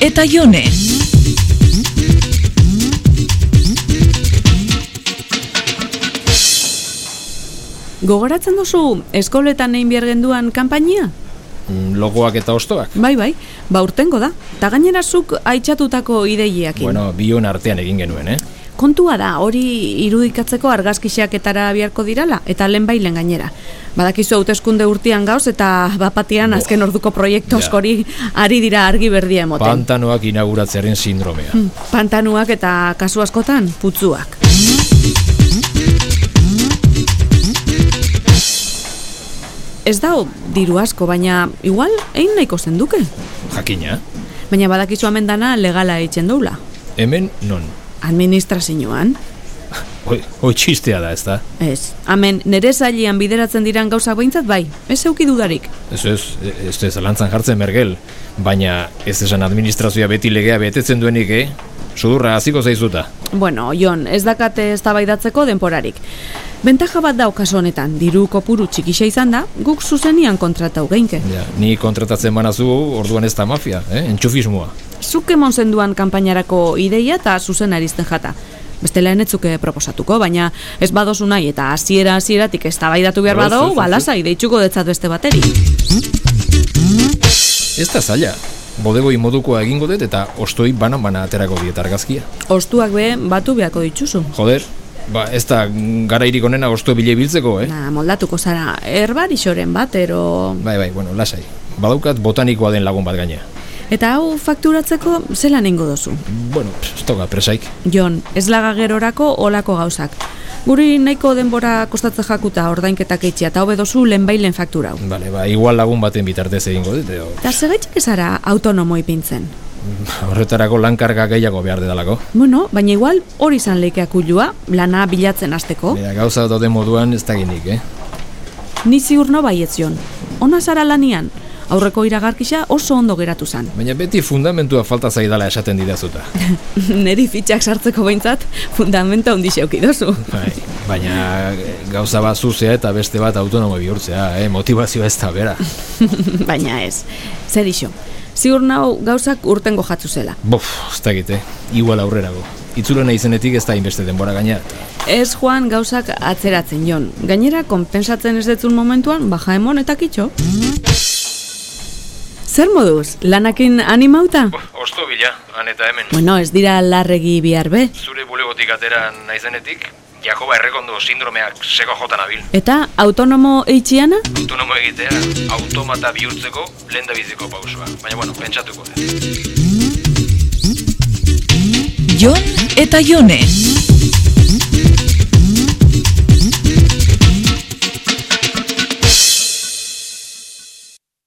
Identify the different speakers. Speaker 1: eta jone.
Speaker 2: Gogoratzen duzu eskoletan egin behar genduan kanpainia?
Speaker 3: Mm, Logoak eta ostoak.
Speaker 2: Bai, bai, ba urtengo da. Ta gainera zuk aitzatutako ideiakin.
Speaker 3: Bueno, bion artean egin genuen, eh?
Speaker 2: Kontua da, hori irudikatzeko argazkixeaketara biharko dirala, eta lehen bailen gainera. Badakizu hauteskunde urtean gauz, eta bapatian azken orduko proiektu
Speaker 3: Ja.
Speaker 2: askori ari dira argi berdia emoten.
Speaker 3: Pantanoak inauguratzearen sindromea.
Speaker 2: Pantanuak eta kasu askotan putzuak. Ez da diru asko, baina igual egin nahiko zenduke.
Speaker 3: Jakina,
Speaker 2: Baina badakizu hemen dana legala egiten doula.
Speaker 3: hemen non.
Speaker 2: Administrazioan,
Speaker 3: Hoi, hoi txistea da, ez da?
Speaker 2: ez. Hemen nere zailean bideratzen diran gauza behintzat bai, ez euki dudarik.
Speaker 3: Ez ez, ez ez lantzan jartzen mergel. Baina ez esan administrazioa beti legea betetzen duenik, eh? Sudurra haziko zaizuta.
Speaker 2: Bueno, Jon, ez dakate eztabaidatzeko denporarik. Bentaja bat da okaso honetan, diru kopuru txikixe izan da, guk zuzenian kontratau geinke.
Speaker 3: Ja, ni kontratatzen banazu, orduan ez da mafia, eh? Entxufismoa.
Speaker 2: Zuk emon zenduan kanpainarako ideia eta zuzen arizten jata. Bestela enetzuke eh, proposatuko, baina ez badozu nahi eta hasiera hasieratik eztabaidatu behar
Speaker 3: Ez, ez,
Speaker 2: badau,
Speaker 3: ez.
Speaker 2: balasai deitzuko detzat beste bateri.
Speaker 3: Ez da zaila. Bodegoi modukoa egingo dut eta ostoi banan-bana aterako diet argazkia.
Speaker 2: Ostuak be batu beharko dituzu.
Speaker 3: Joder, ba ez da garairik onena osto bile biltzeko, eh?
Speaker 2: Na, moldatuko zara, herbarixoren bat, ero...
Speaker 3: Bai, bai, bueno, lasai. Badaukat botanikoa den lagun bat gaina.
Speaker 2: Eta hau fakturatzeko zelan ingo dozu.
Speaker 3: Bueno, pff, ez toka presaik.
Speaker 2: Jon, ez laga gerorako olako gauzak. Guri nahiko denbora kostatzen jakuta ordainketak eitxia, eta hobe dozu lehenbailen fakturau.
Speaker 3: Bale, ba, igual lagun baten bitartez egingo dut, edo
Speaker 2: Eta segaitzak ezara autonomo ipintzen.
Speaker 3: horretarako lankarga gehiago behar dedalako.
Speaker 2: Bueno, baina igual hori izan leike akuilua, lana bilatzen hasteko.
Speaker 3: Bera, gauza dauden moduan ez da ginik, eh?
Speaker 2: Ni ziur no baietz jon. Ona zara lanian, aurreko iragarkisa oso ondo geratu zan.
Speaker 3: Baina beti fundamentua falta zaidala esaten didazuta.
Speaker 2: Neri fitxak sartzeko behintzat, fundamenta ondixe eukidozu.
Speaker 3: Bai, baina eh, gauza bat zuzea eta beste bat autonomo bihurtzea, eh? Motivazioa ez da bera.
Speaker 2: baina ez, zer iso. Ziur nau gauzak urtengo jatzu zela.
Speaker 3: Bof, ez da gite, igual aurrerago. Itzulena izenetik ez da inbeste denbora gaina.
Speaker 2: Ez joan gauzak atzeratzen jon. Gainera, konpensatzen ez detzun momentuan, baja emon eta kitxo. Zer moduz, lanakin animauta?
Speaker 3: Osto bila, han eta hemen.
Speaker 2: Bueno, ez dira larregi bihar be.
Speaker 3: Zure bulegotik atera naizenetik, Jakoba errekondo sindromeak seko jotan abil.
Speaker 2: Eta autonomo eitxiana?
Speaker 3: Autonomo egitea, automata bihurtzeko lehen biziko pausua. Baina, bueno, pentsatuko da.
Speaker 1: Jon eta jone.